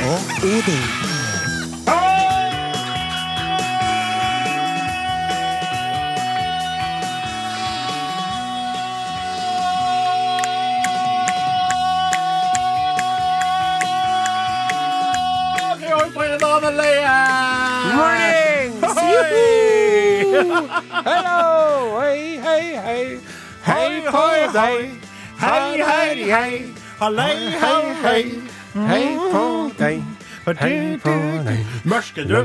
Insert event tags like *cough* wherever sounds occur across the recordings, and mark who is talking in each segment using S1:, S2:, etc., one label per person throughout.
S1: UD.
S2: Mornings! Juhu! Hello! Hei, hei, hei. Hei
S3: Hoi,
S2: på
S3: hoi,
S2: deg. Hei, hei, hei.
S3: Hallei,
S2: Hei, hei. Hei på deg. Hei på deg.
S3: Mørsker du,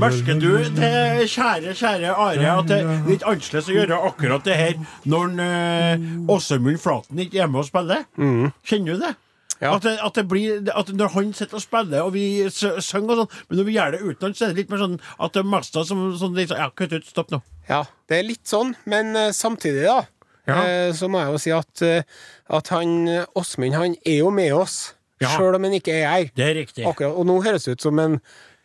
S3: mørsker du til kjære, kjære Are at det er litt annerledes å gjøre akkurat det her når en, eh, Åsemund Flaten ikke er hjemme og spiller? Kjenner du det?
S2: Mm. Ja.
S3: At, det, at det blir At når han sitter og spiller, og vi s- synger og sånn, men når vi gjør det utenlands, så er det litt mer sånn at det meste som sånn, litt sånn, Ja, kutt ut. Stopp nå.
S2: Ja, det er litt sånn, men eh, samtidig, da,
S3: Ja.
S2: eh, så må jeg jo si at, eh, at han eh, Åsmund, han er jo med oss,
S3: Ja.
S2: sjøl om han ikke er her.
S3: Det er riktig.
S2: Akkurat, og nå høres det ut som en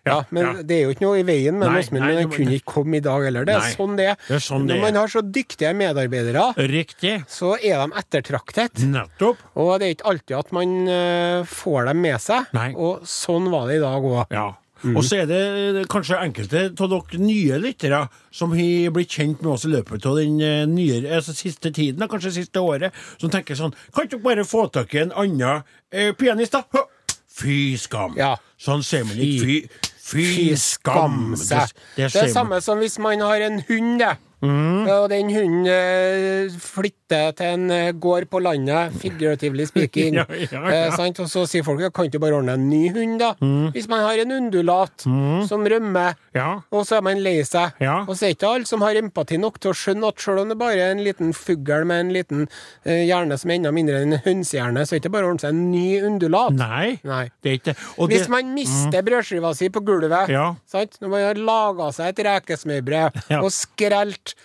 S2: ja,
S3: Ja,
S2: men
S3: ja.
S2: Det er jo ikke noe i veien med
S3: Nei,
S2: Åsmund,
S3: nei,
S2: men han
S3: det-
S2: kunne ikke komme i dag heller. Det er
S3: Nei,
S2: sånn det er.
S3: det er sånn
S2: Når
S3: det
S2: man
S3: er.
S2: har så dyktige medarbeidere,
S3: Riktig.
S2: så er de ettertraktet.
S3: Nettopp.
S2: Og det er ikke alltid at man eh, får dem med seg.
S3: Nei.
S2: Og sånn var det i dag òg.
S3: Ja. Og så er det eh, kanskje enkelte av dere nye lyttere som har blitt kjent med oss i løpet av den eh, nye, altså siste tiden, da, kanskje siste året, som tenker sånn Kan ikke dere bare få tak i en annen eh, pianist, da? Hå! Fy skam!
S2: Ja.
S3: Sånn sier man ikke. Fy, fy, skam!
S2: seg. Det,
S3: sier
S2: er det
S3: man-
S2: samme som hvis man har en hund, det.
S3: Mm.
S2: Og den hunden eh, flytter til en eh, gård på landet, figuratively
S3: *laughs*
S2: speaking.
S3: Ja, ja, ja. Mm.
S2: Eh, sant? Og så sier folk ja, kan ikke du bare ordne en ny hund, da? Hvis man har en undulat som rømmer,
S3: Ja.
S2: og så er man lei seg.
S3: Ja.
S2: Og så er det ikke alle som har empati nok til å skjønne at selv om det bare er en liten fugl med en liten eh, hjerne som er enda mindre enn en hønsehjerne, så er det ikke bare å ordne seg en ny undulat.
S3: Nei.
S2: Nei.
S3: Det er ikke det. Og
S2: Hvis
S3: det- Mm.
S2: man mister brødskiva si på gulvet,
S3: Ja.
S2: sant? når man har laga seg et rekesmørbrød
S3: *laughs* Ja.
S2: og skrelt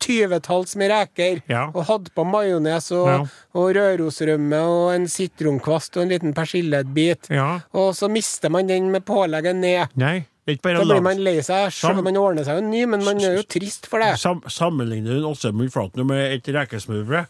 S2: tyvetalls med reker,
S3: Ja.
S2: og hadde på majones og,
S3: Ja.
S2: og rørosrømme og en sitronkvast og en liten persillebit,
S3: Ja.
S2: og så mister man den med pålegget ned.
S3: Nei. Det er ikke bare
S2: Da
S3: å
S2: blir
S3: lage-
S2: man lei seg, selv om man ordner seg en ny, men man er jo trist for det.
S3: Sam sammenligner hun Åsemund Flaten med et rekesmørbrød?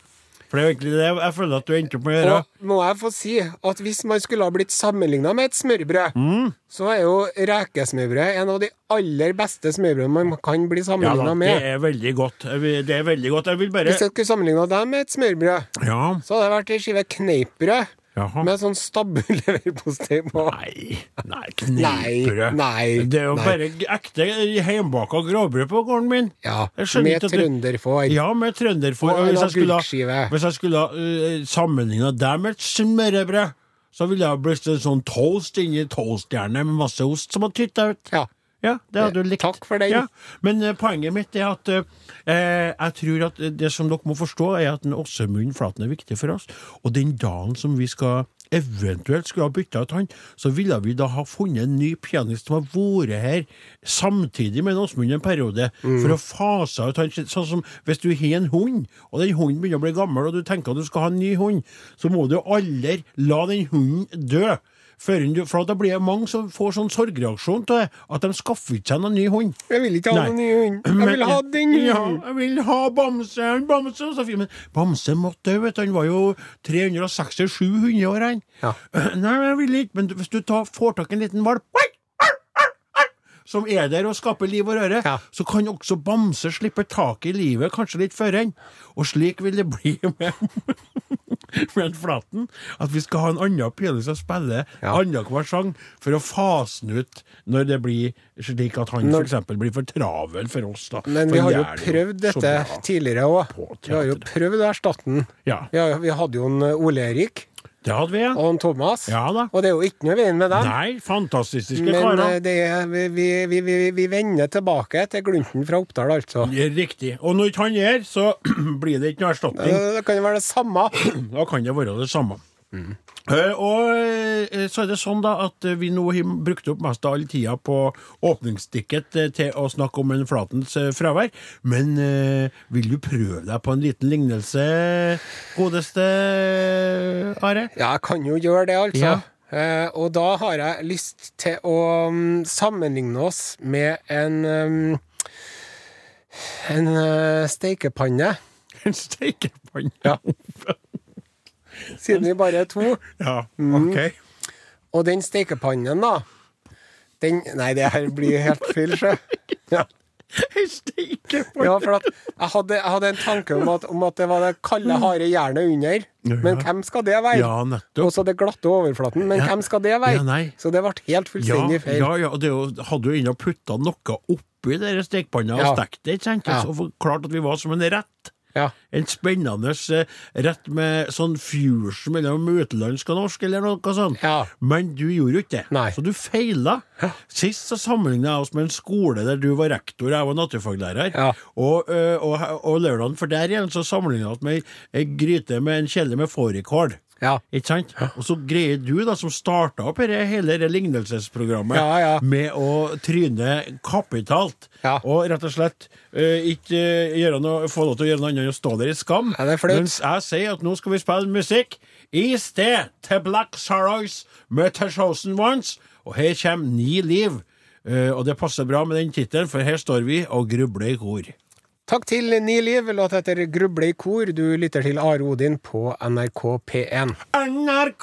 S3: For det er jo egentlig det jeg føler at du endte opp med å gjøre.
S2: Og må jeg få si at hvis man skulle ha blitt sammenligna med et smørbrød,
S3: Mm.
S2: så er jo rekesmørbrød en av de aller beste smørbrødene man kan bli
S3: Ja da, det
S2: sammenligna med.
S3: er veldig godt. Jeg vil- Det er veldig godt. Jeg vil bare
S2: Hvis jeg skulle sammenligna deg med et smørbrød,
S3: Ja.
S2: så hadde det vært ei skive kneippbrød
S3: Jaha.
S2: med sånn *laughs* stabbeleverpostei på.
S3: Nei, nei, kneippbrød.
S2: Nei, nei,
S3: det er jo
S2: nei.
S3: bare ekte hjemmebaka grovbrød på gården min.
S2: Ja,
S3: Jeg skjønner
S2: med
S3: ikke at du-
S2: trønderfår.
S3: Ja, med trønderfår.
S2: Og en
S3: hvis jeg skulle,
S2: agurkskive.
S3: hvis jeg skulle uh, sammenligna det med et smørbrød, så ville jeg blitt en sånn toast inni toastjernet med masse ost som hadde tytta ut.
S2: Ja.
S3: Ja, det hadde du likt.
S2: Takk for den.
S3: Ja. Men eh, poenget mitt er at eh, jeg tror at det som dere må forstå, er at den Åsemund Flaten er viktig for oss. Og den dagen som vi skal eventuelt skulle ha bytta ut han, så ville vi da ha funnet en ny pianist som har vært her samtidig med Åsmund en periode, for å fase ut han. Sånn som hvis du har en hund, og den hunden begynner å bli gammel, og du tenker at du skal ha en ny hund, så må du aldri la den hunden dø. Før du, for da blir det mange som får sånn sorgreaksjon til det, at de skaffer ikke seg noen ny hund.
S2: Jeg vil ikke ha
S3: Nei.
S2: noen ny hund. Jeg
S3: Men-
S2: vil ha den
S3: Ja,
S2: hunden.
S3: jeg vil ha Bamse, han Bamse, og så fin. Men Bamse måtte jo, vet du, han var jo 367 hundeår, han.
S2: Ja.
S3: *clears throat* Nei, jeg vil ikke, men hvis du tar, får tak i en liten valp som er der og skaper liv og røre,
S2: Ja.
S3: så kan også Bamse slippe tak i livet kanskje litt før enn. Og slik vil det bli *laughs* med, *laughs* med Flaten, at vi skal ha en annen pianist som spiller
S2: Ja.
S3: annenhver sang, for å fase den ut når det blir slik at han for eksempel blir for travel for oss. da.
S2: Men
S3: For
S2: vi har jo
S3: han gjør det
S2: prøvd
S3: så
S2: dette
S3: bra.
S2: tidligere òg.
S3: På
S2: Vi har jo
S3: teatret.
S2: prøvd å erstatte den.
S3: Ja.
S2: Vi har- vi hadde jo en eh, Ole Erik
S3: Det hadde vi, ja.
S2: og en Thomas,
S3: Ja da.
S2: og det er jo ikke noe i veien med dem.
S3: Nei, fantastiske
S2: Men
S3: karer.
S2: eh, det er, vi, vi, vi, vi, vi vender tilbake til glunten fra Oppdal, altså.
S3: Det er Riktig. Og når ikke han er her, så *clears throat* blir det ikke noe erstatning.
S2: Eh, Det kan jo være det samme.
S3: *clears throat* Da kan det være det samme.
S2: Mm.
S3: Eh, og eh, så er det sånn da at eh, vi nå har brukt opp mest av all tida på åpningsdikket eh, til å snakke om en Flatens eh, fravær, men eh, vil du prøve deg på en liten lignelse, godeste eh,
S2: *laughs*
S3: Are?
S2: Ja, jeg kan jo gjøre det, altså.
S3: Ja.
S2: Eh, og da har jeg lyst til å mm, sammenligne oss med en mm, en eh, steikepanne,
S3: En steikepanne?
S2: *laughs* Ja. siden vi bare er to.
S3: ja, ok.
S2: Mm. Og den steikepannen, da, den Nei, det her blir helt feil, sjø. Ja.
S3: Jeg steiker på
S2: Ja, for at jeg, hadde, jeg hadde en tanke om at, om at det var det kalde, harde jernet under. Men hvem skal det være?
S3: Ja, nettopp.
S2: Og så det glatte overflaten. Men
S3: Ja.
S2: hvem skal det være?
S3: Ja, nei.
S2: så det ble helt
S3: Ja,
S2: fullstendig feil.
S3: ja, ja, og det er jo- hadde jo ennå putta noe oppi dere stekepanna
S2: Ja.
S3: og stekt det, ikke sant?
S2: Ja.
S3: Så klart at vi var som en rett.
S2: Ja.
S3: En spennende eh, rett med sånn fusion mellom utenlandsk og norsk, eller noe sånt.
S2: Ja.
S3: Men du gjorde jo ikke det,
S2: Nei.
S3: så du feila. Sist så sammenligna jeg oss med en skole der du var rektor og jeg var naturfaglærer.
S2: Ja.
S3: Og, eh, og, og lørdagen for der igjen så sammenligna vi oss med ei- ei gryte med en kjele med fårikål.
S2: Ja.
S3: Ikke sant? Og så greier du, da, som starta opp her, hele det lignelsesprogrammet,
S2: Ja, ja.
S3: med å tryne kapitalt.
S2: Ja.
S3: Og rett og slett eh, ikke eh, gjøre noe, få lov til å gjøre noe annet enn å stå der i skam.
S2: Ja, det er flaut.
S3: Mens jeg sier at nå skal vi spille musikk i sted til Black Sorrows med The Chosen Ones. Og her kommer Ni liv. Eh, og det passer bra med den tittelen, for her står vi og grubler i kor.
S2: Takk til Ni Liv, låt etter Gruble i kor. Du lytter til Are Odin på NRK P1.
S3: NRK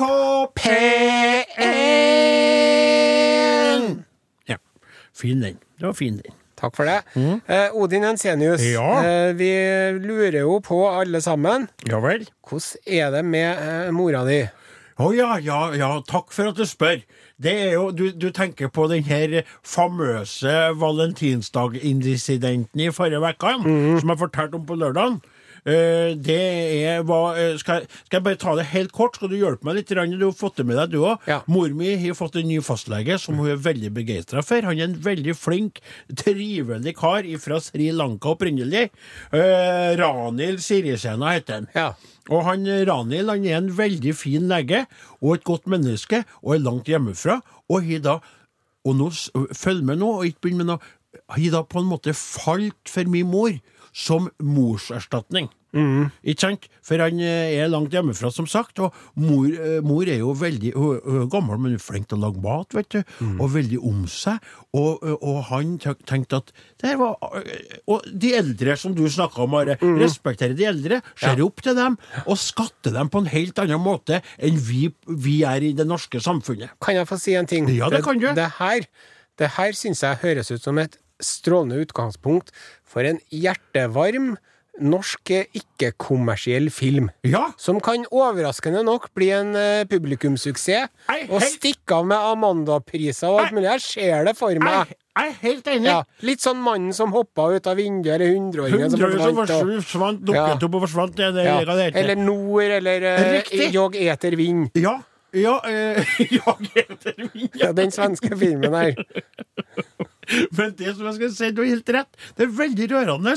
S3: P1! Ja. Fin den. Det var fin den.
S2: Takk for det. Eh, Odin Jensenius,
S3: Mm. Ja.
S2: eh, vi lurer jo på alle sammen.
S3: Ja vel?
S2: Hvordan er det med eh, mora di?
S3: Å ja, ja, ja, takk for at du spør. Det er jo, Du, du tenker på den her famøse valentinsdag-incidenten i forrige uke, som jeg fortalte om på lørdagen. Eh, det er hva eh, skal, jeg- skal jeg bare ta det helt kort? Skal du hjelpe meg litt? grann? Du har fått det med deg, du òg.
S2: Ja.
S3: Mor mi har fått en ny fastlege som hun er veldig begeistra for. Han er en veldig flink, trivelig kar fra Sri Lanka opprinnelig. Eh, Ranil Sirisena heter han.
S2: Ja.
S3: Og han eh, Ranil han er en veldig fin lege og et godt menneske, og er langt hjemmefra. Og har da og nå, s- Følg med nå, og ikke begynn med noe. Har da på en måte falt for min mor som morserstatning. Ikke sant? For han eh, er langt hjemmefra, som sagt. Og mor, eh, mor er jo veldig hun, er- hun er gammel, men hun er flink til å lage mat, vet du.
S2: Mm.
S3: Og veldig om seg. Og, og han tenk- tenkte at det her var eh, Og de eldre som du snakka om, Are.
S2: Mm.
S3: Respektere de eldre. Ser opp til dem. Og skatte dem på en helt annen måte enn vi, vi er i det norske samfunnet.
S2: Kan jeg få si en ting?
S3: Ja, det kan du.
S2: Det her, det her syns jeg høres ut som et strålende utgangspunkt for en hjertevarm, norsk eh, ikke-kommersiell film.
S3: Ja!
S2: Som kan overraskende nok bli en eh, publikumssuksess.
S3: Nei,
S2: Og
S3: helt-
S2: stikke av med Amanda-priser og alt mulig. Jeg ser det for
S3: Jeg,
S2: meg.
S3: jeg er helt enig.
S2: Ja, litt sånn mannen som hoppa ut av vinduet, eller hundreåringen som
S3: Hundre som
S2: forsvant. og-
S3: forsvant, dukket
S2: Ja.
S3: opp og forsvant. Det, er det,
S2: Ja.
S3: hva det heter.
S2: Eller nord, eller eh,
S3: Riktig.
S2: jog eter vind.
S3: Ja. Ja, eh, *laughs* ja, Grete Rubin, ja.
S2: Ja, den svenske filmen
S3: *laughs*
S2: her.
S3: Men det som jeg skal si, du har helt rett. Det er veldig rørende.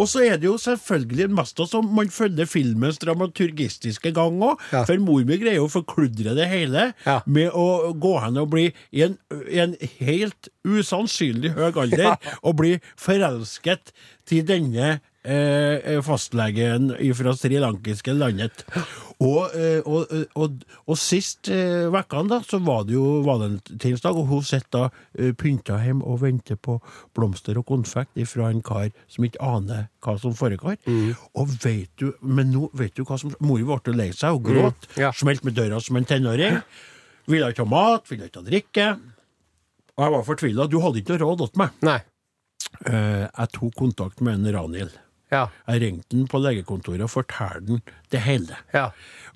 S3: Og så er det jo selvfølgelig mest også om man følger filmens dramaturgistiske gang òg.
S2: Ja.
S3: For mor mi greier jo å forkludre det hele
S2: Ja.
S3: med å gå hen og bli i en, i en helt usannsynlig høy alder, og bli forelsket til denne eh, eh, fastlegen fra srilankiske landet. Og, eh, og, og, og, og sist eh, vekken da, så var det jo valentinsdag, og hun sitter da eh, pynta hjem og venter på blomster og konfekt fra en kar som ikke aner hva som foregår. Og vet du, men nå vet du hva som Mor ble lei seg og gråt,
S2: Ja.
S3: smelt med døra som en tenåring. Ville ikke ha mat, ville ikke ha drikke. Og jeg var fortvila. Du hadde ikke noe råd til meg.
S2: Nei.
S3: Eh, jeg tok kontakt med en Ranil.
S2: Ja.
S3: Jeg ringte den på legekontoret og fortalte den det hele.
S2: Ja.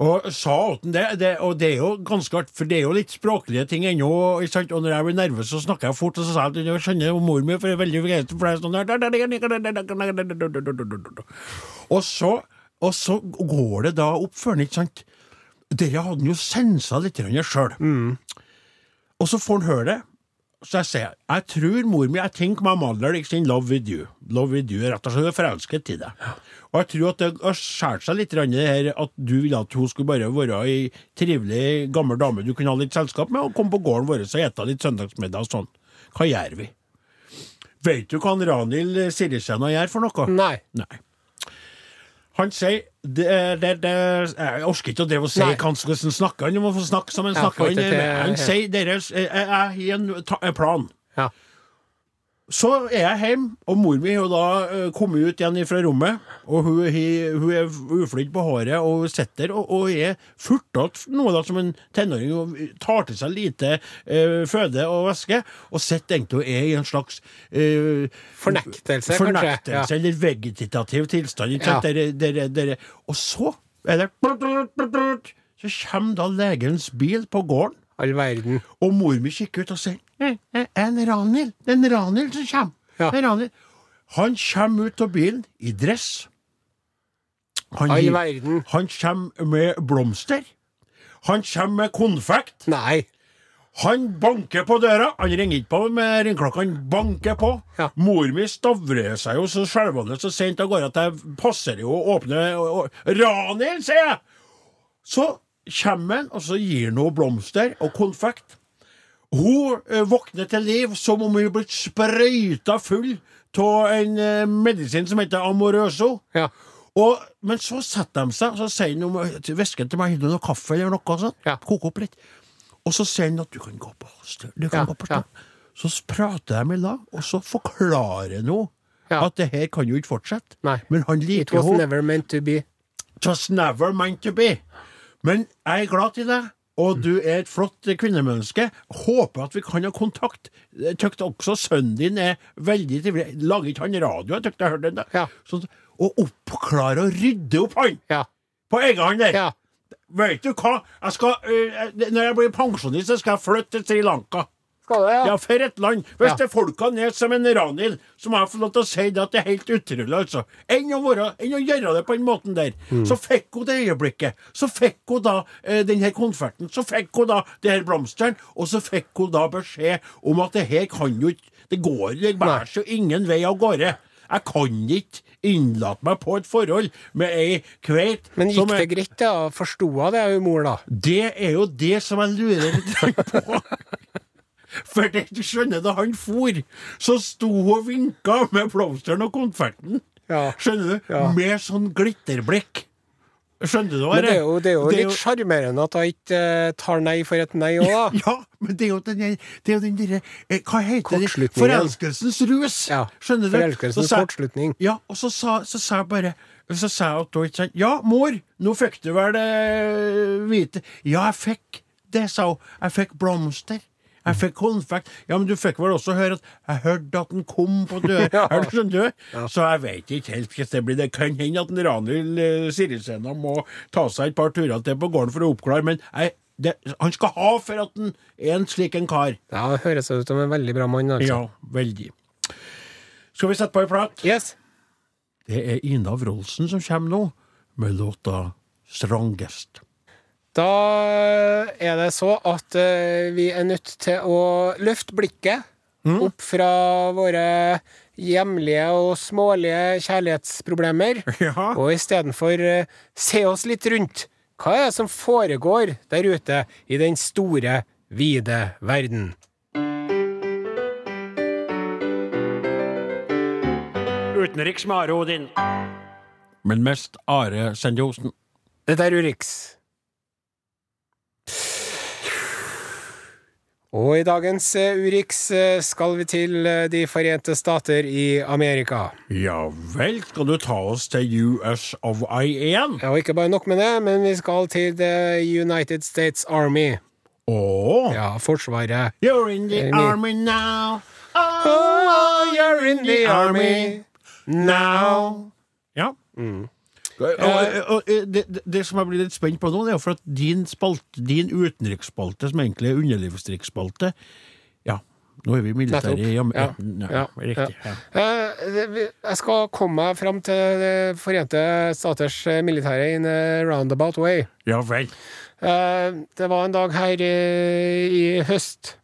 S3: Og sa åt den det, det, og det er jo ganske artig, for det er jo litt språklige ting ennå. ikke sant? Og når jeg blir nervøs, så snakker jeg fort, og så sa jeg at jeg skjønner jo mor mi, for jeg er veldig begeistret for sånn deg. Sånn. Og så, og så går det da opp for den, ikke sant? Dere hadde den jo sensa litt sjøl. Og så får han høre det. Så jeg sier jeg tror mor mi Jeg tenker my mother is in love with you. Love with you, Rett og slett hun er forelsket i deg. Og jeg tror at det har skåret seg litt grann i det her at du ville at hun skulle bare være ei trivelig, gammel dame du kunne ha litt selskap med, og komme på gården vår og ete litt søndagsmiddag og sånn. Hva gjør vi? Veit du hva han Ranil Sirisena gjør for noe?
S2: Nei.
S3: Nei. Han sier det, det, det, Jeg orker ikke å drive og si
S2: Nei.
S3: hva han skal- hvordan snakker han, du må få snakke som han
S2: Ja,
S3: snakker.
S2: får ikke
S3: Han,
S2: til-
S3: han sier deres, jeg, jeg har en ta- en plan.
S2: Ja.
S3: Så er jeg hjemme, og mor mi har da eh, kommet ut igjen fra rommet. Og hun, hi- hun er uflidd på håret og sitter der og, og er furtete nå da som en tenåring. Og tar til seg lite eh, føde og væske, og sitter egentlig og er i en slags eh,
S2: Fornektelse, kanskje?
S3: fornektelse,
S2: Ja.
S3: Eller vegetativ tilstand. Ikke
S2: Ja.
S3: sant? Dere, dere, dere. Og så er det Så kommer da legens bil på gården.
S2: All verden.
S3: Og mor mi kikker ut og sier «Eh, eh, En Ranhild! Det er en Ranhild som kommer!
S2: Ja.
S3: Det er en Ranhild.» Han kommer ut av bilen i dress. Han,
S2: All
S3: gir-
S2: verden.
S3: han kommer med blomster. Han kommer med konfekt.
S2: Nei.
S3: Han banker på døra. Han ringer ikke på med ringeklokka, han banker på.
S2: Ja.
S3: Mor mi stavrer seg jo så skjelvende så sent av gårde at jeg passer jo å åpne og- og- Ranhild, sier jeg! Så kommer han, og så gir han henne blomster og konfekt. Hun eh, våkner til liv som om hun er blitt sprøyta full av en eh, medisin som heter Amoroso.
S2: Ja.
S3: Og, men så setter de seg, og så sier han om væsken til meg, har du noe kaffe eller noe sånt?
S2: Ja.
S3: Koke opp litt. Og så sier han at du kan gå på stø- du kan
S2: Ja,
S3: gå på stø. Så prater de i lag, og så forklarer han henne
S2: Ja.
S3: at det her kan jo ikke fortsette.
S2: Nei.
S3: Men han
S2: It
S3: liker
S2: was
S3: henne.
S2: never meant to be.
S3: It was never meant to be. Men jeg er glad i deg, og du er et flott kvinnemenneske. Håper at vi kan ha kontakt. Jeg tykker også sønnen din er veldig trivelig. Lager ikke han radio? Jeg tykker jeg hørte den der.
S2: Ja.
S3: Så, og oppklare og rydde opp han
S2: Ja.
S3: på egen hånd der.
S2: ja.
S3: Vet du hva? Jeg skal, eh, når jeg blir pensjonist, så skal jeg flytte til Sri Lanka.
S2: Skal det,
S3: Ja, for et land! Hvis
S2: Ja.
S3: det er folka ned som en ranil, så må jeg få lov til å si det at det er helt utrolig, altså. Enn å, være, enn å gjøre det på den måten der.
S2: Mm.
S3: Så fikk hun det øyeblikket. Så fikk hun da eh, den her konferten. Så fikk hun da det her blomsteren. Og så fikk hun da beskjed om at det her kan jo ikke Det går det bærer jo ingen vei av gårde. Jeg kan ikke innlate meg på et forhold med ei kveit
S2: Men
S3: som
S2: gikk
S3: er-
S2: det greit, da? Forsto hun det, hun mor, da?
S3: det er jo det som jeg lurer litt grann på. *laughs* For det, du skjønner, da han for, så sto hun og vinka med blomsteren og konfekten.
S2: Ja.
S3: Skjønner du?
S2: Ja.
S3: Med sånn glitterblikk. Skjønner du hva
S2: Men det er jo, det er jo
S3: Det er
S2: litt sjarmerende at hun ikke eh, tar nei for et nei òg, da.
S3: *laughs* Ja, men det er jo den, der- det er jo den derre eh, Hva heter det?
S2: Kortslutningen.
S3: Forelskelsens rus.
S2: Ja,
S3: Skjønner du?
S2: forelskelsens
S3: Så sa-
S2: kortslutning.
S3: Ja, og så sa, så sa jeg bare Så sa jeg at hun ikke sant Ja, mor, nå fikk du vel det hvite Ja, jeg fikk det, sa hun. Jeg fikk blomster. Jeg fikk konfekt. Ja, men du fikk vel også høre at jeg hørte at den kom på *laughs* døra.
S2: Ja.
S3: Er du Skjønner du? Så jeg vet ikke helt hvordan det blir. Det kan hende at en Ranhild eh, Siritsena må ta seg et par turer til på gården for å oppklare, men jeg, det, han skal ha for at han er en slik en kar.
S2: Ja, det høres ut som en veldig bra mann, altså.
S3: Ja, veldig. Skal vi sette på ei prat?
S2: Yes.
S3: Det er Ina Wroldsen som kommer nå, med låta 'Strongest'.
S2: Da er det så at eh, vi er nødt til å løfte blikket opp fra våre hjemlige og smålige kjærlighetsproblemer,
S3: Ja.
S2: og istedenfor eh, se oss litt rundt. Hva er det som foregår der ute i den store, vide verden?
S1: Utenriks med Are Odin.
S3: Men mest Are Sendjosen.
S2: Dette er Urix. Og i dagens eh, Urix eh, skal vi til eh, De forente stater i Amerika.
S3: Ja vel, skal du ta oss til US of I igjen?
S2: Ja, og ikke bare nok med det, men vi skal til The United States Army.
S3: Åh
S2: Ja, Forsvaret.
S3: You're in the
S2: Enig.
S3: army now. Ah,
S2: Oh, you're in the army now.
S3: Ja. Og,
S2: eh,
S3: og, og, eh, det, det- det som jeg blir litt spent på nå, det er jo for at din, spalt, din utenriksspalte, som egentlig er underlivsdrikkspalte Ja, nå er vi militære
S2: Nettopp.
S3: i Am-
S2: Ja.
S3: Ja,
S2: Ja.
S3: Riktig. Ja.
S2: Eh, det- vi- Jeg skal komme meg fram til Det forente staters eh, militære in a roundabout way.
S3: ja vel.
S2: Eh, Det var en dag her eh, i høst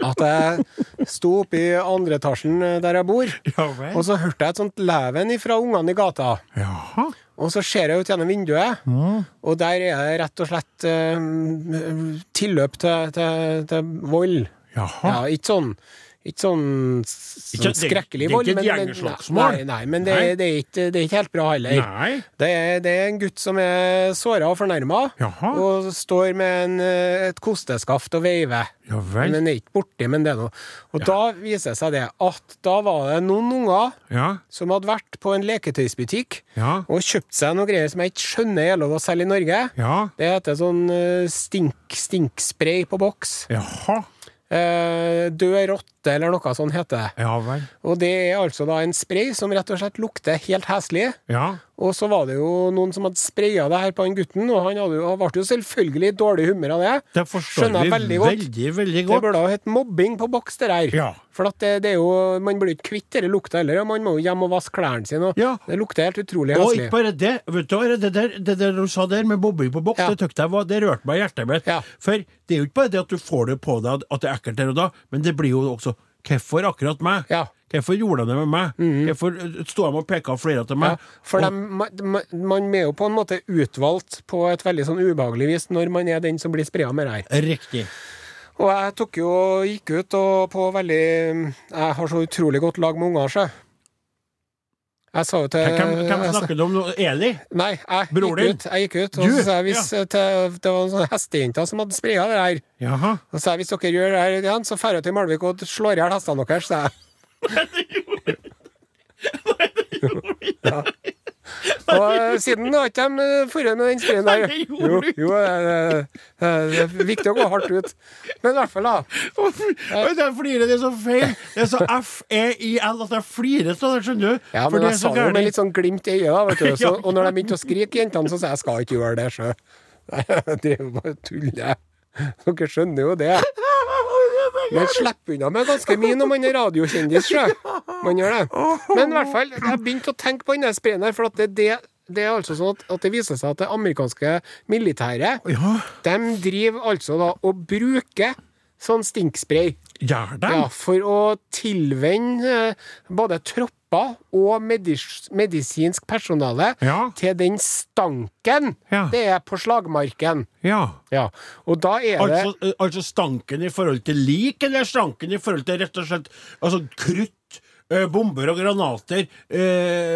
S2: at jeg sto oppe i andre etasjen eh, der jeg bor,
S3: Ja
S2: og
S3: vel.
S2: så hørte jeg et sånt leven fra ungene i gata.
S3: Jaha.
S2: Og så ser jeg ut gjennom vinduet,
S3: Mm.
S2: og der er det rett og slett eh, tilløp til, til, til vold.
S3: Jaha.
S2: Ja, ikke sånn Ikke sånn s-
S3: Ikke- det-
S2: skrekkelig
S3: det er
S2: vold.
S3: ikke et
S2: men- men-
S3: gjengerslagsmål.
S2: Nei, nei, men det,
S3: Nei.
S2: Det, er ikke, det er ikke helt bra heller.
S3: Nei.
S2: Det er, det er en gutt som er såra og fornærma,
S3: Jaha.
S2: og står med en, eh, et kosteskaft og veiver.
S3: Ja vel.
S2: Men er ikke borti, men det er noe. Og da viser det seg det at da var det noen unger
S3: ja.
S2: som hadde vært på en leketøysbutikk
S3: Ja.
S2: og kjøpt seg noe greier som jeg ikke skjønner er lov å selge i Norge.
S3: Ja.
S2: Det heter sånn eh, stink, stinkspray på boks.
S3: Jaha.
S2: Eh, død rotte eller noe sånt heter det.
S3: Ja vel.
S2: Og det er altså da en spray som rett og slett lukter helt heslig.
S3: Ja.
S2: Og så var det jo noen som hadde spraya det her på den gutten, og han, hadde jo, han ble jo selvfølgelig i dårlig humør av det.
S3: Det forstår
S2: Skjønner jeg
S3: vi
S2: veldig godt.
S3: veldig, veldig
S2: Det
S3: godt.
S2: burde ha hett mobbing på boks, det der.
S3: Ja.
S2: For at det, det er jo, man blir jo ikke kvitt denne lukta heller, og man må jo hjem og vaske klærne sine. Og
S3: Ja.
S2: Det lukter helt utrolig
S3: Og
S2: heslig.
S3: ikke bare det. Vet du, hva, det, der, det der du sa der med bobbing på boks,
S2: Ja.
S3: det tøkte jeg var, det rørte meg i hjertet mitt.
S2: Ja.
S3: For det er jo ikke bare det at du får det på deg at det er ekkelt der og da, men det blir jo også Hvorfor akkurat meg?
S2: Ja. Mhm.
S3: Hvorfor gjorde de det med meg? Hvorfor eh, står de og peker og flirer til meg?
S2: Ja, for
S3: Og-
S2: dem- ma- ma- man er jo på en måte utvalgt på et veldig sånn ubehagelig vis når man er den som blir spraya med det her.
S3: Riktig.
S2: Og jeg tok jo, gikk ut og på veldig Jeg har så utrolig godt lag med unger, sjø. Jeg sa jo til
S3: Hvem, hvem
S2: jeg sa-
S3: snakker du om nå? Eli?
S2: Nei, jeg
S3: Bror din?
S2: gikk ut. Jeg gikk ut og
S3: Du?
S2: så sa jeg hvis til, Det var en sånn hestejente som hadde spraya det her.
S3: Jaha.
S2: Og sa jeg hvis dere gjør det her igjen, så drar jeg til Malvik og slår i hjel hestene deres. sa jeg. Og eh, siden har ikke de eh, dratt med den spriten der.
S3: Nei, det gjorde
S2: Jo,
S3: du ikke.
S2: jo eh, eh, det er viktig å gå hardt ut. Men i hvert fall, da.
S3: *laughs* Hvorfor- Men Jeg flirer, det er så feil. Det er så F-E-I-L at jeg flirer av det, skjønner du.
S2: Ja,
S3: For
S2: men
S3: det er
S2: jeg
S3: så
S2: sa det jo med
S3: gærent.
S2: litt sånn glimt i øyet, da, vet du. Så,
S3: *laughs* Ja.
S2: og når de begynte å skrike, jentene, så sa jeg jeg skal ikke gjøre det *laughs* sjøl. Det er jo bare tull, det. Dere skjønner jo det.
S3: Ah,
S2: Man slipper unna med ganske mye når man er radiokjendis,
S3: *laughs*
S2: sjø. Man gjør det. Men i hvert fall, jeg begynte å tenke på denne sprayen her, for at det, det, det er altså sånn at, at det viser seg at det amerikanske militæret,
S3: Ja,
S2: de driver altså da og bruker sånn stinkspray.
S3: gjør det?
S2: Ja, for å tilvenne eh, både tropper og medis medisinsk personale
S3: Ja.
S2: til den stanken
S3: Ja.
S2: det er på slagmarken.
S3: Ja.
S2: Ja, og da er det
S3: Altså, eh, altså stanken i forhold til lik, eller stanken i forhold til rett og slett altså krutt, eh, bomber og granater, eh,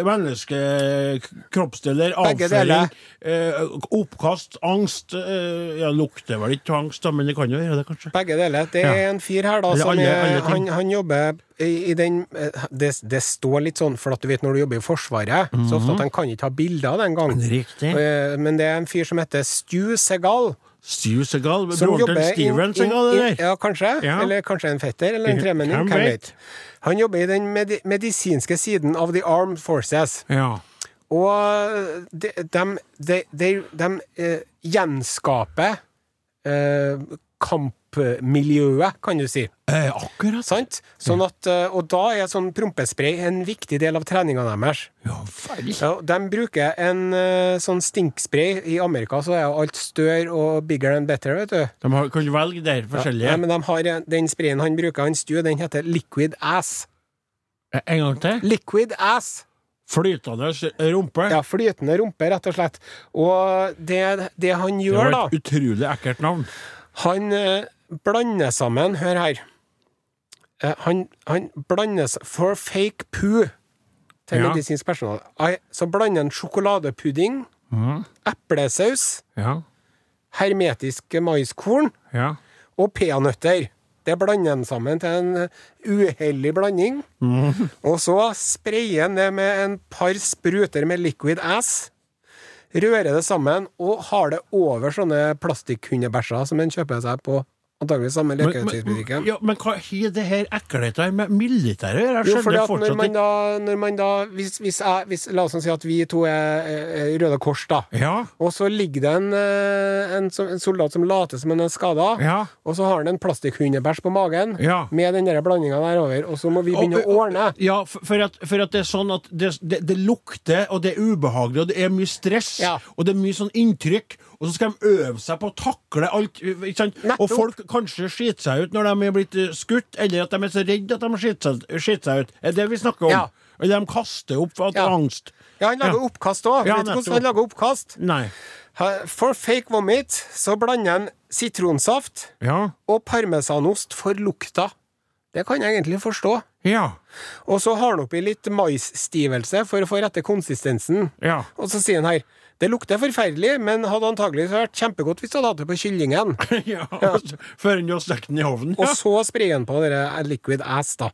S3: menneskekroppsdeler,
S2: Begge deler.
S3: avføring, eh, oppkast, angst eh, Ja, lukter vel ikke angst, da, men det kan jo gjøre det, kanskje.
S2: begge deler. Det er
S3: Ja.
S2: en fyr her da
S3: Eller
S2: som
S3: alle-
S2: er,
S3: alle ting.
S2: han, han jobber i, i den eh, det, det står litt sånn, for at du vet når du jobber i Forsvaret, så ofte at han kan ikke ha bilder av det engang.
S3: Mhm. Riktig.
S2: Eh, Men det er en fyr som heter Stu Segal.
S3: Steve Segal,
S2: Som
S3: broren til
S2: jobber
S3: Steven
S2: inn- inn-
S3: Segal,
S2: inn-
S3: eller?
S2: Ja, kanskje.
S3: Ja.
S2: Eller kanskje en fetter, eller en
S3: Hvem
S2: tremenning. Hvem
S3: vet?
S2: vet. Han jobber i den medi medisinske siden av The Armed Forces.
S3: Ja.
S2: Og eh, de, de, de, de, de eh, gjenskaper eh, kampmiljøet, kan du si.
S3: Eh, akkurat.
S2: Sant? Sånn at, eh, og da er sånn prompespray en viktig del av treninga deres.
S3: Ja, vel.
S2: Ja, de bruker en eh, sånn stinkspray. I Amerika så er jo alt større og bigger and better, vet du.
S3: De har, kan velge der forskjellige.
S2: Nei, men de har, en- den sprayen han bruker, han Stu, den heter Liquid Ass.
S3: Eh, En gang til.
S2: Liquid Ass!
S3: Flytende rumpe.
S2: Ja, flytende rumpe, rett og slett. Og det, det han
S3: det
S2: gjør,
S3: var
S2: da
S3: et utrolig ekkelt navn.
S2: Han eh, blander sammen Hør her. Eh, han, han blander s- For fake poo til
S3: Ja.
S2: medisinsk personale. Ai, Så blander han sjokoladepudding, eplesaus,
S3: Ja.
S2: hermetiske maiskorn
S3: Ja.
S2: og peanøtter. Det blander han sammen til en uheldig blanding.
S3: Mm.
S2: Og så sprayer han det med en par spruter med liquid ass. Rører det sammen og har det over sånne plastikkhundebæsjer som en kjøper seg på antakeligvis
S3: Men,
S2: samme
S3: men,
S2: leketøysbutikken.
S3: ja, men hva har det her ekkelheten med militæret å gjøre? Jeg
S2: Jo, fordi
S3: skjønner
S2: at når
S3: fortsatt
S2: man
S3: ikke
S2: da, når man da hvis, hvis jeg, hvis, La oss nå si at vi to er eh, Røde Kors, da.
S3: Ja.
S2: Og så ligger det en, eh, en, som- en soldat som later som han er skada,
S3: Ja.
S2: og så har han en plastikkhundebæsj på magen
S3: Ja.
S2: med den der blandinga der over, og så må vi begynne å ordne.
S3: Ja, for, for, at, for at det er sånn at det, det, det lukter, og det er ubehagelig, og det er mye stress,
S2: Ja.
S3: og det er mye sånn inntrykk, og så skal de øve seg på å takle alt, ikke sant?
S2: Nettopp.
S3: Og folk kanskje skiter seg ut når de er blitt eh, skutt, eller at de er så redde at de skiter seg, skiter seg ut. Er det vi snakker om?
S2: Ja.
S3: Eller de kaster opp for at det
S2: Ja.
S3: er angst.
S2: Ja, han lager
S3: Ja.
S2: oppkast òg.
S3: Ja,
S2: Vet du hvordan
S3: nettopp.
S2: han lager oppkast?
S3: Nei.
S2: Ha- For fake vomit så blander han sitronsaft
S3: Ja.
S2: og parmesanost for lukta Det kan jeg egentlig forstå.
S3: Ja.
S2: Og så har han oppi litt maisstivelse for å få rette konsistensen.
S3: Ja. *laughs*
S2: Og så sier han her det lukter forferdelig, men hadde antagelig vært kjempegodt hvis du hadde hatt det på kyllingen.
S3: ja. og så- Før du har stekt den i ovnen.
S2: Og
S3: Ja.
S2: så sprayer han på dere liquid ass, da.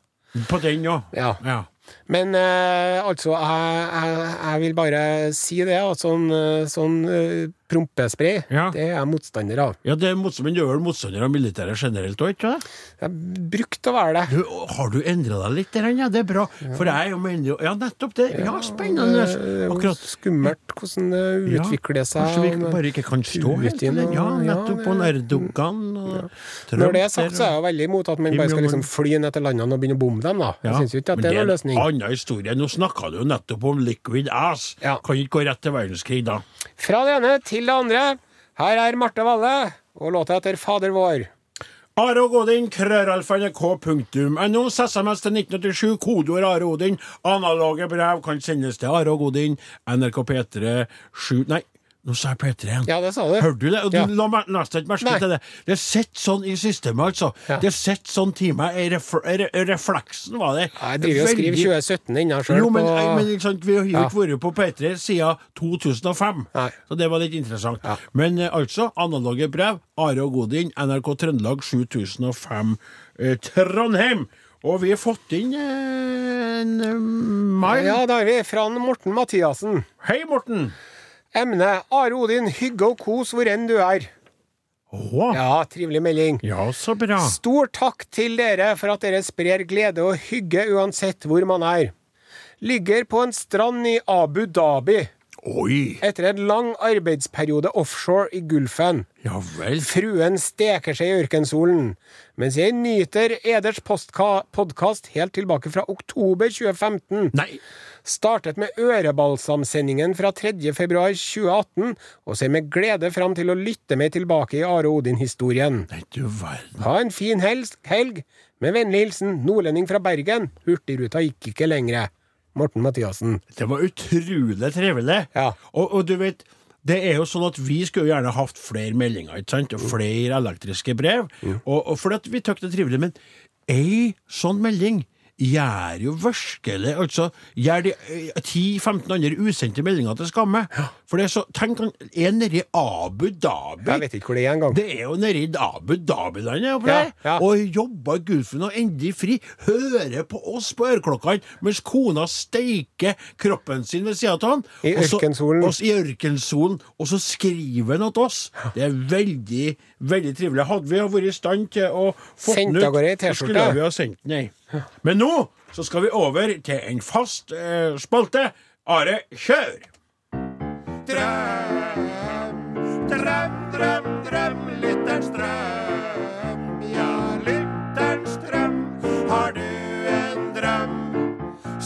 S3: På den òg.
S2: Ja.
S3: Ja.
S2: Men eh, altså, jeg, jeg, jeg vil bare si det, at sånn, eh, sånn eh, prompespray,
S3: Ja.
S2: det er jeg motstander av.
S3: ja, det er motstand, men du er vel motstander av militæret generelt òg, ikke sant?
S2: Jeg brukte å være det.
S3: Du, har du endra deg litt? der, Ja, det er bra. For jeg er jo mener jo Ja, nettopp det. Ja, spennende.
S2: Det er jo
S3: Akkurat.
S2: Eh, skummelt hvordan det
S3: Ja,
S2: utvikler
S3: Kanskje
S2: seg.
S3: vi
S2: men-
S3: bare ikke kan stå helt
S2: Putin
S3: i det. Ja,
S2: og- ja,
S3: nettopp.
S2: det-
S3: Og Erdogan og Trump
S2: Når det er sagt,
S3: der,
S2: så er
S3: og-
S2: jeg jo veldig imot at man bare skal liksom fly ned til landene og begynne å bombe dem, da.
S3: Ja,
S2: Jeg syns jo ikke
S3: men
S2: at det er noen løsning.
S3: en annen historie. Nå snakka du jo nettopp om liquid ass.
S2: Ja.
S3: Kan ikke gå rett til verdenskrig da.
S2: Fra det ene til det andre. Her er Marte Valle og låta etter Fader vår.
S3: Are og Odin, krøralfa.nrk.no. SMS til 1987, kodeord Are og Odin. Analoge brev kan sendes til Are og Odin, NRK P3 7 Nei, nå sa jeg P3 igjen.
S2: Ja, det sa du.
S3: Hørte du det? Og du
S2: Ja.
S3: la meg nesten ikke merke
S2: Nei.
S3: til det. Det sitter sånn i systemet, altså.
S2: Ja.
S3: Det sitter sånn til meg. i refl- re- Refleksen var det.
S2: Jeg driver og skriver
S3: Veldig-
S2: 2017 inna sjøl.
S3: Jo, men, jeg- men
S2: på
S3: ikke sant, vi har jo
S2: Ja.
S3: ikke vært på P3 siden 2005,
S2: Nei.
S3: så det var litt interessant.
S2: Ja.
S3: Men eh, altså, analoge brev, Are og Godin, NRK Trøndelag 7005 eh, Trondheim. Og vi har fått inn eh, en eh, mail.
S2: Ja, da har vi fra Morten Mathiassen.
S3: Hei, Morten!
S2: Emne Are Odin, hygge og kos hvor enn du er.
S3: Å, ja.
S2: Ja, trivelig melding.
S3: så bra.
S2: Stor takk til dere for at dere sprer glede og hygge uansett hvor man er. Ligger på en strand i Abu Dhabi
S3: Oi!
S2: etter en lang arbeidsperiode offshore i Gulfen.
S3: Ja vel.
S2: Fruen steker seg i ørkensolen, mens jeg nyter eders podkast helt tilbake fra oktober 2015.
S3: Nei,
S2: Startet med ørebalsamsendingen fra 3. februar 2018, og ser med glede fram til å lytte meg tilbake i Are Odin-historien.
S3: nei, du verden.
S2: Ha en fin helg, helg! Med vennlig hilsen nordlending fra Bergen. Hurtigruta gikk ikke lengre. Morten Mathiassen.
S3: Det var utrolig trivelig.
S2: Ja.
S3: Og, og du vet, det er jo sånn at vi skulle jo gjerne hatt flere meldinger, ikke sant? Og flere elektriske brev. Og, og fordi at vi tøkte det trivelig, men ei sånn melding gjør jo virkelig altså, gjør de eh, 10-15 andre usendte meldinger til skamme. For det er så, tenk, han er nede i Abu Dhabi.
S2: Jeg vet ikke hvor det er engang.
S3: Det er jo nede i Abu Dhabi-landet oppe
S2: Ja,
S3: der,
S2: ja.
S3: og jobber i Gulfen og endelig fri. Hører på oss på øreklokkene mens kona steiker kroppen sin ved sida av han.
S2: I
S3: og så-
S2: ørkensolen.
S3: og s- I ørkensolen. Og så skriver han til oss. Det er veldig, veldig trivelig. Hadde vi vært i stand til å få
S2: Sendt
S3: den ut,
S2: av gårde i
S3: så
S2: T-skjorte.
S3: skulle vi ha sendt den ei. Men nå så skal vi over til en fast eh, spalte. Are, kjør! Drøm, drøm, drøm, drøm, lytterens drøm. Ja, lytterens drøm. Har du en drøm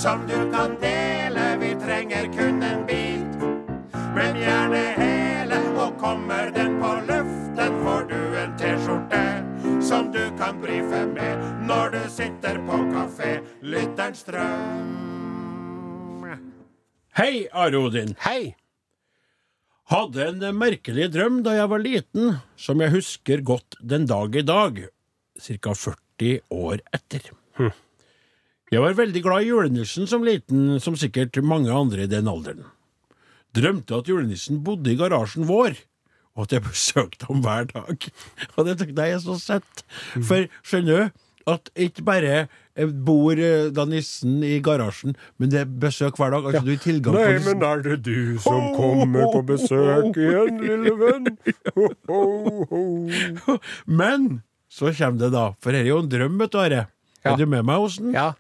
S3: som du kan dele? Vi trenger kun en bit, men gjerne hele. Og kommer den på luften, får du en T-skjorte som du kan brife med når du sitter på kafé. Lytterens drøm. Hei, Are Odin.
S2: Hei!
S3: Hadde en merkelig drøm da jeg var liten, som jeg husker godt den dag i dag, ca. 40 år etter. Jeg var veldig glad i julenissen som liten, som sikkert mange andre i den alderen. Drømte at julenissen bodde i garasjen vår, og at jeg *laughs* besøkte ham hver dag. *laughs* Og det tenkte jeg er så søtt. For skjønner du, at ikke bare eh, bor eh, da nissen i garasjen, men det er besøk hver dag. Altså, du har tilgang på nissen.
S2: er det du
S3: som kommer på besøk
S2: igjen, lille venn? *laughs*
S3: Men så kommer det, da. For dette er jo en drøm, vet du, Are.
S2: Ja.
S3: Er du med meg, Osen?
S2: Ja.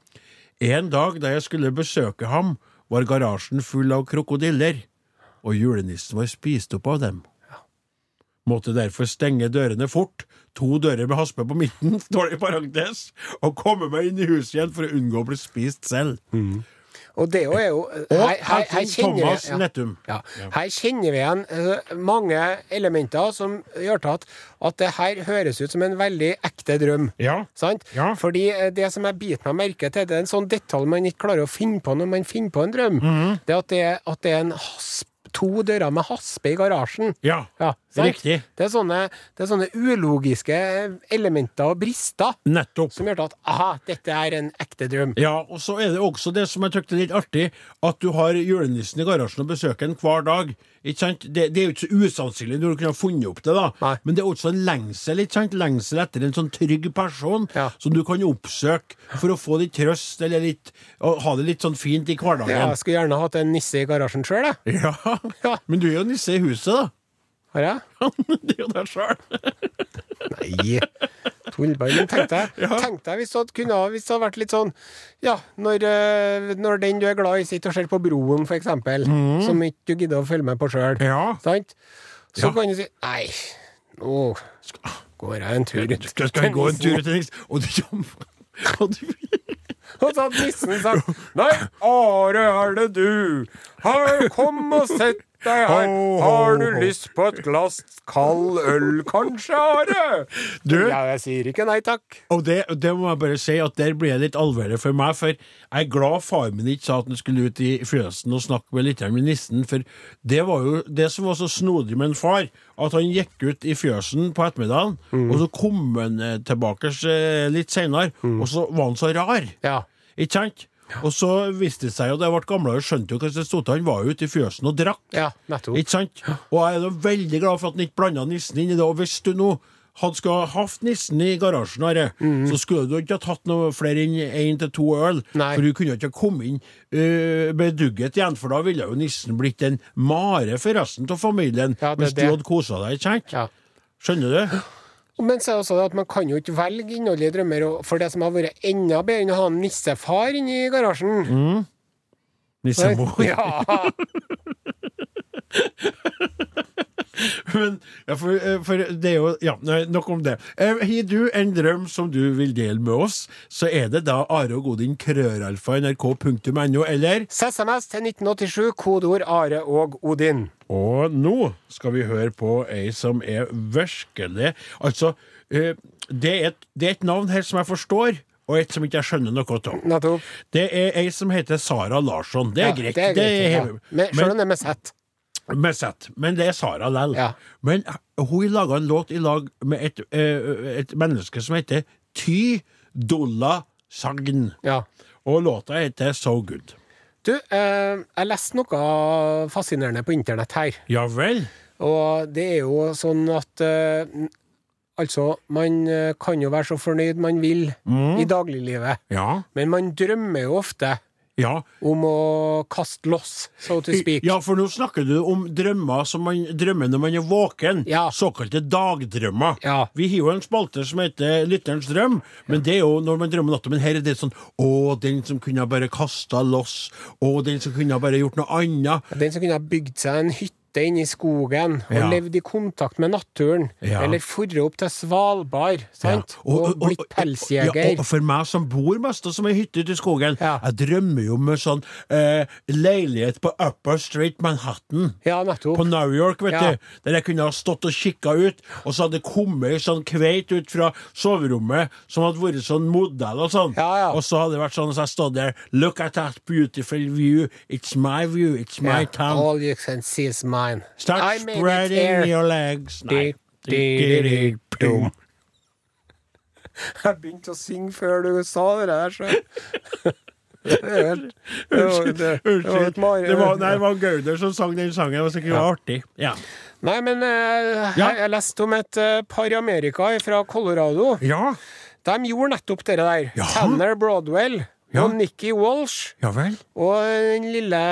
S3: En dag da jeg skulle besøke ham, var garasjen full av krokodiller, og julenissen var spist opp av dem. Måtte derfor stenge dørene fort, to dører med haspe på midten, *laughs* dårlig parentes, og komme meg inn i huset igjen for å unngå å bli spist selv.
S2: Og det er jo eh,
S3: Og
S2: Her, her, her
S3: Helsen
S2: kjenner
S3: Thomas
S2: vi ja.
S3: Nettum.
S2: Ja. Her kjenner vi igjen eh, mange elementer som gjør til at, at det her høres ut som en veldig ekte drøm.
S3: Ja.
S2: Sant?
S3: Ja.
S2: Fordi eh, det som jeg biter meg merke til, det er en sånn detalj man ikke klarer å finne på når man finner på en
S3: Mhm.
S2: drøm. Det er at det, er- at det er en hasp, to dører med haspe i garasjen.
S3: Ja.
S2: Ja, Sant?
S3: Riktig.
S2: Det er, sånne, det er sånne ulogiske eh, elementer og brister
S3: Nettopp.
S2: som gjør til at aha, dette er en ekte drøm.
S3: Ja, og så er det også det som jeg tykte er litt artig, at du har julenissen i garasjen og besøker han hver dag. Ikke sant? Det, det er jo ikke så usannsynlig når du kunne ha funnet opp det, da.
S2: Nei.
S3: Men det er også en lengsel, ikke sant? Lengsel etter en sånn trygg person
S2: Ja.
S3: som du kan oppsøke for å få litt trøst, eller litt, og ha det litt sånn fint i
S2: Ja,
S3: hverdagen.
S2: jeg skulle gjerne hatt en nisse i garasjen sjøl, jeg.
S3: Ja.
S2: Ja.
S3: Men du er jo nisse i huset, da. *laughs*
S2: Har jeg?
S3: det er jo deg sjøl.
S2: Nei. Tullballen, tenkte jeg. Tenkte jeg hvis det hadde, kunne, ha- hvis det hadde vært litt sånn Ja, når, eh, når den du er glad i, sitter og ser på Broen, for eksempel, som ikke du gidder å følge med på sjøl,
S3: Mhm. Ja.
S2: sant? Så
S3: Ja. ah.
S2: kan du si Nei, nå går jeg en tur ut.
S3: Skal skal jeg gå en tur
S2: nissen».
S3: til nissen? Og du kommer *laughs* og du-
S2: Og så hadde nissen sagt Nei, Are, er det du? Her, kom og sett deg her. Har du lyst på et glass kald øl, kanskje, Are?
S3: Du?
S2: Ja, jeg sier ikke nei takk.
S3: Og det, det må jeg bare si at der ble det litt alvorlig for meg, for jeg er glad faren min ikke sa at han skulle ut i fjøsen og snakke med litt med nissen, for det var jo det som var så snodig med en far, at han gikk ut i fjøsen på ettermiddagen, og så kom han eh, tilbake eh, litt senere, og så var han så rar.
S2: Ja.
S3: Ikke sant? Og så viste det seg jo, da jeg ble gamlere, skjønte jo hva som stod til, han var jo ute i fjøsen og drakk.
S2: Ja, nettopp.
S3: Ikke sant? Og jeg er da veldig glad for at han ikke blanda nissen inn i det. Og hvis du nå hadde skulle ha hatt nissen i garasjen, Are,
S2: Mhm.
S3: så skulle du ikke ha tatt noe flere enn én til to øl.
S2: Nei.
S3: For du kunne ikke ha kommet inn øh, bedugget igjen, for da ville jo nissen blitt en mare for resten av familien.
S2: Ja, det er
S3: hvis du
S2: det.
S3: hadde kosa deg, ikke sant?
S2: Ja.
S3: Skjønner du?
S2: Men så er det også det at man kan jo ikke velge innholdet i drømmer, og for det som har vært enda bedre enn å ha en nissefar inni garasjen
S3: Nissemor.
S2: *laughs* Ja,
S3: *laughs* Men, ja, for, eh, for det er jo Ja, nei, nok om det. Eh, Har du en drøm som du vil dele med oss, så er det da Are og Godin krøralfa nrk.no, eller
S2: SMS til 1987, kodeord Are og Odin.
S3: Og nå skal vi høre på ei som er virkelig Altså, eh, det er, et, det er et navn her som jeg forstår, og et som ikke jeg skjønner noe av.
S2: Nettopp.
S3: Det er ei som heter Sara Larsson. Det er
S2: Ja,
S3: greit.
S2: Det er greit.
S3: det
S2: ja.
S3: er-
S2: Men Selv om det er med sett.
S3: med sett, men det er Sara lell.
S2: Ja.
S3: Men eh, hun laga en låt i lag med et, eh, et menneske som heter Ty Dolla Sagn.
S2: Ja.
S3: Og låta heter So Good.
S2: Du, eh, jeg leste noe fascinerende på internett her.
S3: Ja vel?
S2: Og det er jo sånn at eh, n- Altså, man eh, kan jo være så fornøyd man vil i dagliglivet,
S3: Ja.
S2: men man drømmer jo ofte
S3: Ja.
S2: om å kaste loss, so to speak.
S3: ja, for nå snakker du om drømmer som man drømmer når man er våken.
S2: Ja.
S3: Såkalte dagdrømmer.
S2: Ja.
S3: Vi har jo en spalte som heter Lytterens drøm, men det er jo når man drømmer natta. Men her er det sånn Å, den som kunne ha bare kasta loss. Å, den som kunne ha bare gjort noe annet.
S2: Den som kunne ha bygd seg en hytte inne i skogen og
S3: Ja.
S2: levd i kontakt med naturen,
S3: Ja.
S2: eller forre opp til Svalbard, sant?
S3: Ja,
S2: Og, blitt
S3: Ja,
S2: pelsjeger.
S3: og for meg som bor mest, og som er hytte ute i skogen,
S2: Ja.
S3: jeg drømmer jo om en sånn eh, leilighet på Upper Street Manhattan.
S2: Ja,
S3: På
S2: nettopp.
S3: New York, vet
S2: Ja.
S3: du, der jeg kunne ha stått og kikka ut, og så hadde det kommet ei sånn kveit ut fra soverommet som hadde vært sånn modell og sånn,
S2: Ja, ja.
S3: og så hadde det vært sånn, så jeg stått der, look at that beautiful view, it's my view, it's my
S2: Ja.
S3: town,
S2: All you can see is mine. I
S3: start
S2: made it here.
S3: spreading your legs. Nei.
S2: Di-di-di-dum. *laughs* Jeg begynte å synge før du sa det der, så
S3: *laughs*
S2: Det er helt- det var- det- det var et
S3: Unnskyld.
S2: mare-
S3: Det var, nei, det var Gauder som sang den sangen. Det var sikkert artig. Ja.
S2: Nei, men eh,
S3: Ja.
S2: jeg, jeg leste om et eh, par i Amerika fra Colorado.
S3: ja.
S2: De gjorde nettopp det der.
S3: Ja.
S2: Tanner Broadwell
S3: Ja.
S2: og Nikki Walsh
S3: vel.
S2: og den lille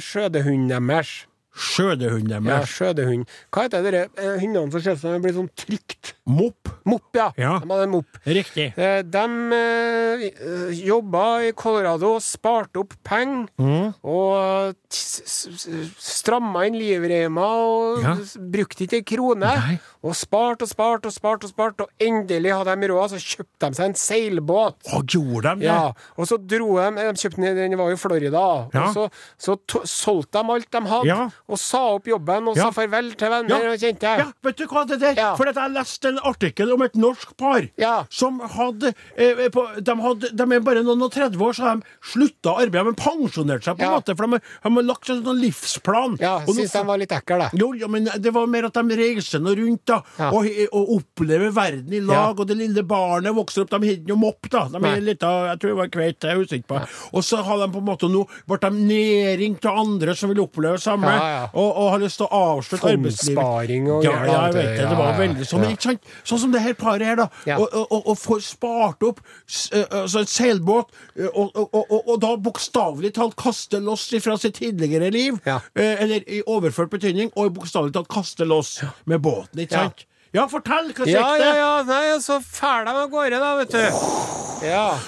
S2: skjødehunden deres.
S3: Skjødehunden
S2: Ja,
S3: deres.
S2: skjødehund. Hva heter dere eh, hundene som ser ut som de blir sånn trykt?
S3: Mopp.
S2: Mopp, ja.
S3: Ja.
S2: De hadde en mopp.
S3: Riktig.
S2: Eh, De eh, jobba i Colorado, sparte opp penger
S3: Mm.
S2: og t- s- s- stramma inn livreima og
S3: Ja.
S2: s- brukte ikke ei krone.
S3: Nei.
S2: Og sparte og sparte og sparte, og sparte Og endelig hadde de råd, så kjøpte de seg en seilbåt.
S3: Å, gjorde de det?
S2: Ja, og eh, så dro de De kjøpte den, den var jo i Florida.
S3: Ja.
S2: Og så, så to, solgte de alt de hadde,
S3: Ja.
S2: og sa opp jobben og
S3: Ja.
S2: sa farvel til venner og kjente.
S3: Ja, vet du hva det der?
S2: Ja.
S3: For at jeg leste en artikkel om et norsk par
S2: Ja.
S3: som hadde, eh, på, de hadde De er bare noen og 30 år, så har de slutta arbeidet. De pensjonerte seg, på en
S2: Ja.
S3: måte, for de, har- de har lagt en sånn livsplan.
S2: Ja,
S3: Og nå-
S2: syns de var litt ekkel, da.
S3: jo, ja, men det var mer at de reiser nå rundt da,
S2: Ja.
S3: og, og opplever verden i lag, og det lille barnet vokser opp, de har ikke noe mopp da, de
S2: Nei.
S3: er litt av, jeg tror det var kveit, jeg husker ikke på. Og så har de på en måte nå, ble de nedringt av andre som vil oppleve det samme,
S2: Ja, ja.
S3: Og, og har lyst til å avslutte arbeidslivet.
S2: Fondssparing og
S3: ja, ja,
S2: greier,
S3: jeg
S2: alt det,
S3: vet det,
S2: ja,
S3: det var
S2: ja,
S3: veldig sånn,
S2: ja.
S3: men ikke sant? Sånn som det her paret her da,
S2: Ja.
S3: og, og, og, og får spart opp s- eh, altså et seilbåt, eh, og, og, og, og, og da bokstavlig talt kaster loss fra sitt tidligere liv,
S2: Ja.
S3: Eh, eller i overført betydning, og bokstavelig talt kaste loss med båten, ikke
S2: Ja.
S3: sant? Ja, fortell hva
S2: Ja,
S3: skjedde!
S2: ja, ja. Nei, og så fæl de av gårde, da, vet du. Ja.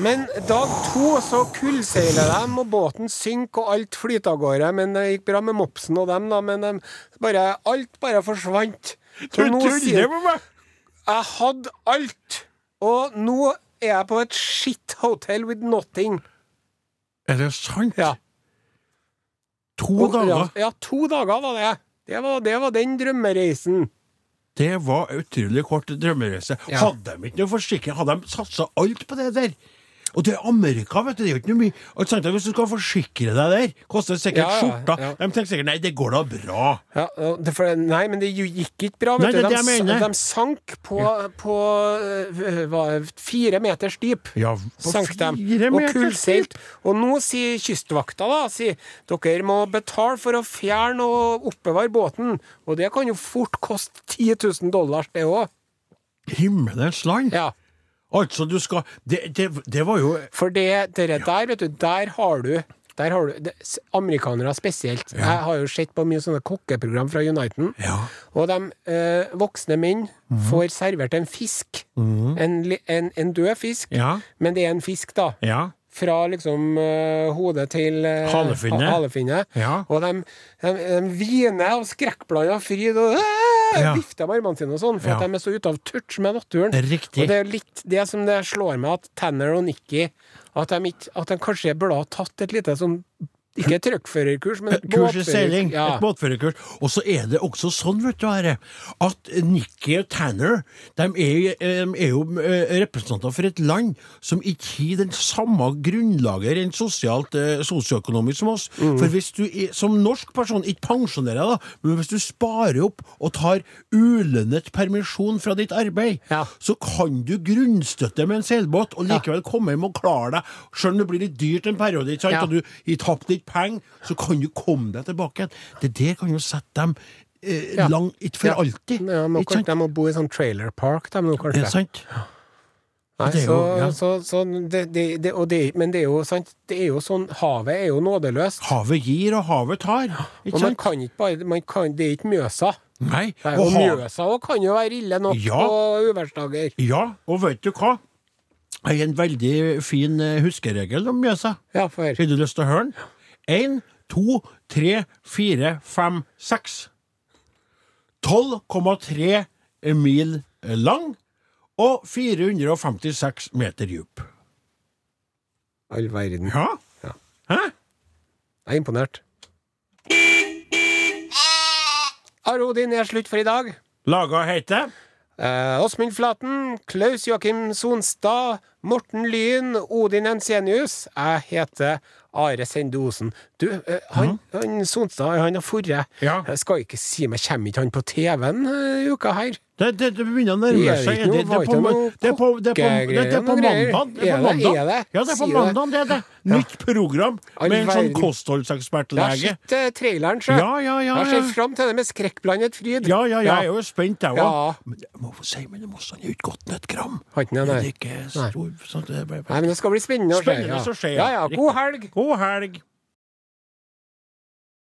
S2: Men dag to så kullseiler de, og båten synker, og alt flyter av gårde. Men det gikk bra med mopsen og dem, da, men dem bare, alt bare forsvant.
S3: Du
S2: Så nå sier-
S3: tuller med meg!
S2: Jeg hadde alt, og nå er jeg på et shit hotel with nothing.
S3: Er det sant?
S2: Ja.
S3: To
S2: ja,
S3: dager.
S2: ja, to dager var det. Det var, det var den drømmereisen.
S3: Det var utrolig kort drømmereise.
S2: Ja.
S3: Hadde de ikke noe forsikring? Hadde de satsa alt på det der? Og det er Amerika, vet du. Det er jo ikke noe mye Og sant, Hvis du skal forsikre deg der, koster det sikkert
S2: Ja, ja,
S3: skjorta.
S2: ja.
S3: De tenker sikkert nei, det går da bra.
S2: Ja, og det, for, nei, men det jo- gikk ikke bra.
S3: Nei,
S2: Vet
S3: det er
S2: du.
S3: det
S2: De,
S3: jeg
S2: s-
S3: mener.
S2: de sank på, på øh, hva, fire meters dyp.
S3: Ja, på
S2: sank de,
S3: fire
S2: og
S3: meters
S2: kullseilt. Og nå sier Kystvakta da, sier dere må betale for å fjerne og oppbevare båten. Og det kan jo fort koste 10 000 dollar, det òg.
S3: Himmelens land!
S2: Ja.
S3: Altså, du skal Det, det, det var jo
S2: For det, det der, vet du, der har du der har du, det, s- Amerikanere spesielt. Jeg har jo sett på mye sånne kokkeprogram fra Uniten.
S3: Ja. Mhm.
S2: Og de eh, voksne menn får servert en fisk. En, li- en, en død fisk.
S3: Ja.
S2: Men det er en fisk, da.
S3: Ja.
S2: Fra liksom eh, hodet til eh,
S3: Halefinne.
S2: ha- halefinne.
S3: Ja.
S2: Og de, de, de hviner av skrekkblanda fryd og øh,
S3: Ja.
S2: vifter med armene sine og sånn, for
S3: Ja.
S2: at de er så ute av touch med naturen.
S3: Riktig.
S2: Og det er litt det som det slår meg, at Tanner og Nikki At de, ikke, at de kanskje burde ha tatt et lite sånn Ikke et truckførerkurs, men et
S3: *laughs* Kurs i
S2: båtfører-
S3: seiling.
S2: Ja.
S3: Et båtførerkurs. Og så er det også sånn, vet du, Are, at Nikki og Tanner de er, em, er jo eh, representanter for et land som ikke har den samme grunnlaget rent sosialt, eh, sosioøkonomisk som oss.
S2: Mm.
S3: For hvis du i- som norsk person ikke pensjonerer deg, da, men hvis du sparer opp og tar ulønnet permisjon fra ditt arbeid,
S2: Ja.
S3: så kan du grunnstøtte med en seilbåt og likevel komme hjem og klare deg. Selv om det blir litt dyrt en periode, ikke sant?
S2: Ja.
S3: og du har tapt litt penger, så kan du komme deg tilbake igjen. Det der kan jo sette dem eh,
S2: Ja.
S3: langt Ikke for
S2: Ja.
S3: alltid.
S2: Ja, må
S3: ikke
S2: kanskje,
S3: sant?
S2: de må bo i sånn trailer park, de nå,
S3: Er
S2: kanskje.
S3: det sant?
S2: Nei,
S3: Det er
S2: så,
S3: jo- ja.
S2: så, så det, det, det, og det, men det er jo sant, det er jo sånn Havet er jo nådeløst.
S3: Havet gir, og havet tar.
S2: Og
S3: Ikke
S2: man
S3: sant?
S2: kan ikke bare man kan, Det er ikke Mjøsa.
S3: Nei.
S2: Nei,
S3: Og
S2: og
S3: havet
S2: Mjøsa også kan jo være ille nok
S3: Ja.
S2: på uværsdager.
S3: Ja, og vet du hva? Jeg har en veldig fin eh, huskeregel om Mjøsa.
S2: Ja, for
S3: Har du lyst til å høre den? Én, to, tre, fire, fem, seks. 12,3 mil lang og 456 meter dyp.
S2: all verden.
S3: Ja. Hæ?
S2: Jeg er imponert. Aro, din er slutt for i dag.
S3: Laga heter
S2: Eh, Åsmund Flaten, Klaus Joakim Sonstad, Morten Lyn, Odin Ensenius. Jeg heter Are Sende Osen. Du, eh, han, han Sonstad, han har forre.
S3: Mhm. Ja.
S2: Jeg skal ikke si meg, kommer ikke han på TV-en eh, i uka her?
S3: Det, det, det begynner å nærme
S2: Er det
S3: seg.
S2: ikke noe-
S3: det, det, er
S2: var
S3: på,
S2: ikke
S3: det,
S2: noe
S3: er på, det, er på, det, er på
S2: kokkegreier, noe greier?
S3: mandag. Det er på
S2: Er det- er
S3: mandag.
S2: det?
S3: Ja, det er på
S2: Sier det.
S3: mandag, det er det. Nytt program
S2: All
S3: med en sånn
S2: verden. Jeg har
S3: kostholdsekspertlege.
S2: sett eh, traileren, sjø.
S3: Ja, ja, ja.
S2: Jeg har
S3: ja.
S2: sett fram til det med skrekkblandet fryd.
S3: Ja, ja, jeg er jo spent, jeg
S2: Ja.
S3: òg. Men jeg må få si, men det må sånn ut godt med et gram.
S2: Har ikke den,
S3: Det
S2: nei.
S3: er ikke stor, sånn, det er bare-
S2: Nei, men det skal bli spennende å se.
S3: Spennende å se,
S2: Ja, ja. God helg!
S3: God helg.